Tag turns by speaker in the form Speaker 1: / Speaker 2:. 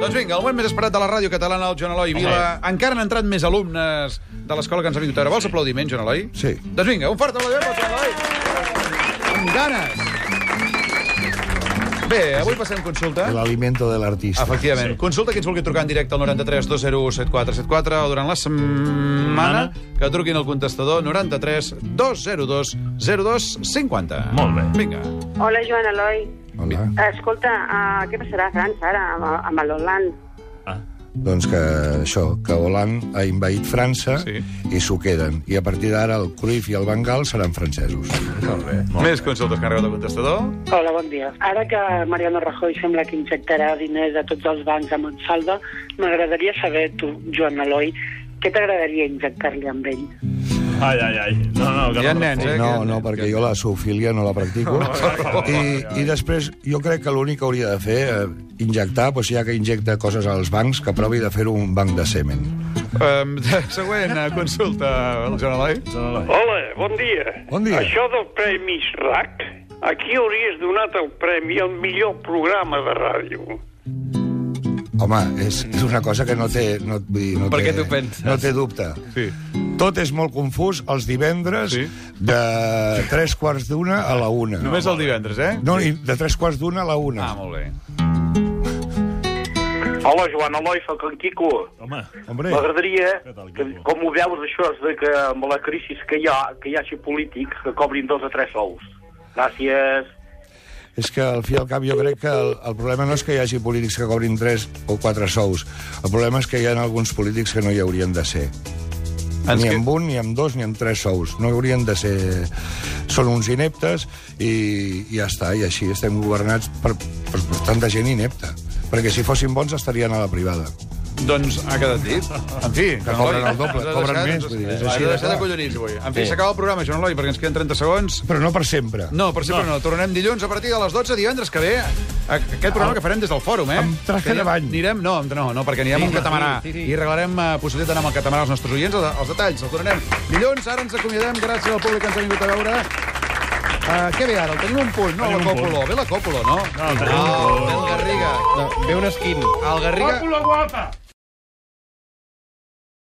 Speaker 1: Doncs vinga, el moment més esperat de la ràdio catalana, el Joan Eloi Vila. Encara n'han entrat més alumnes de l'escola que ens han vingut ara. Vols aplaudiments, Joan Eloi?
Speaker 2: Sí.
Speaker 1: Doncs vinga, un fort aplaudiment pel Joan Eloi. Amb ganes. Bé, avui passem consulta.
Speaker 2: El alimento del artista.
Speaker 1: Efectivament. Consulta qui ens vulgui trucar en directe al 93 201 7474 o durant la setmana que truquin al contestador 93 202 0250.
Speaker 3: Molt bé.
Speaker 1: Vinga.
Speaker 4: Hola, Joan Eloi.
Speaker 2: Hola.
Speaker 4: Escolta, uh, què passarà a França ara amb, amb l'Holland?
Speaker 3: Ah.
Speaker 2: Doncs que això, que Hollande ha invaït França
Speaker 1: Sí.
Speaker 2: i s'ho queden. I a partir d'ara el Cruyff i el Van Gaal seran francesos.
Speaker 1: Molt bé. Més consultes que han arribat al contestador.
Speaker 5: Hola, bon dia. Ara que Mariano Rajoy sembla que injectarà diners a tots els bancs a Montsalva, m'agradaria saber, tu, Joan Eloi, què t'agradaria injectar-li amb ell?
Speaker 3: Ai, ai, ai. ya, No, no, que
Speaker 1: Hi ha
Speaker 3: no.
Speaker 1: nens, eh?
Speaker 2: No,
Speaker 1: que-
Speaker 2: no, perquè jo la zoofilia no la practico. I, I després jo crec que l'únic que hauria de fer, eh, injectar, doncs ja que injecta coses als bancs, que provi de fer-ho un banc de semen.
Speaker 1: Um, següent eh, consulta, el Joan Eloi.
Speaker 6: Hola, bon dia.
Speaker 2: Bon dia.
Speaker 6: Això del Premi RAC, aquí hauries donat el premi al millor programa de ràdio.
Speaker 2: Home, és, és una cosa que no té... No, vull dir, no
Speaker 1: Per
Speaker 2: té,
Speaker 1: què t'ho penses?
Speaker 2: No té dubte.
Speaker 1: Sí.
Speaker 2: Tot és molt confús els divendres
Speaker 1: Sí.
Speaker 2: de tres quarts d'una a la una.
Speaker 1: Només el divendres, eh?
Speaker 2: No, i de tres quarts d'una a la una.
Speaker 1: Ah, molt bé.
Speaker 7: Hola, Joan Eloi, sóc en Quico.
Speaker 3: Home,
Speaker 2: Hombre,
Speaker 7: M'agradaria,
Speaker 3: Què tal,
Speaker 7: que,
Speaker 3: Quico?
Speaker 7: com ho veus, això és de que amb la crisi que hi ha, que hi hagi polítics que cobrin dos a tres sous. Gràcies.
Speaker 2: és que al fi i al cap jo crec que el, el problema no és que hi hagi polítics que cobrin tres o quatre sous. El problema és que hi ha alguns polítics que no hi haurien de ser.
Speaker 1: Ens
Speaker 2: ni
Speaker 1: que-
Speaker 2: amb un, ni amb dos, ni amb tres sous. No haurien de ser... Són uns ineptes i, i ja està. I així estem governats per, per, per tanta gent inepta. Perquè si fossin bons estarien a la privada.
Speaker 1: Doncs ha quedat dit. En fi,
Speaker 2: Que
Speaker 1: Joan
Speaker 2: cobren
Speaker 1: Eloi,
Speaker 2: el doble,
Speaker 1: ens has
Speaker 2: cobren
Speaker 1: deixat-
Speaker 2: més, vull dir, és
Speaker 1: ens
Speaker 2: així de
Speaker 1: Has deixat
Speaker 2: clar.
Speaker 1: acollonits, avui. En fi, s'acaba el programa, Joan Eloi, perquè ens queden 30 segons.
Speaker 2: Però no per sempre.
Speaker 1: No, per sempre no. no. Tornem dilluns a partir de les 12, divendres que ve. A- Aquest programa que farem des del fòrum, eh?
Speaker 2: Amb traje de bany.
Speaker 1: Anirem, no, amb- no, no, perquè anirem sí, amb un catamarà. Sí, sí, sí. I regalarem eh, possibilitat d'anar amb el catamarà als nostres oients. Els, els detalls els donarem dilluns. Ara ens acomiadem. Gràcies al públic que ens ha vingut a veure. Uh, què ve ara? El tenim un punt, no?
Speaker 3: Tenim
Speaker 1: la
Speaker 3: un punt.
Speaker 1: Còpolo. Ve la Còpolo, no?
Speaker 3: No, el tenim un
Speaker 1: ve el Garriga.
Speaker 8: Ve un esquin.
Speaker 1: El Garriga...
Speaker 3: guapa!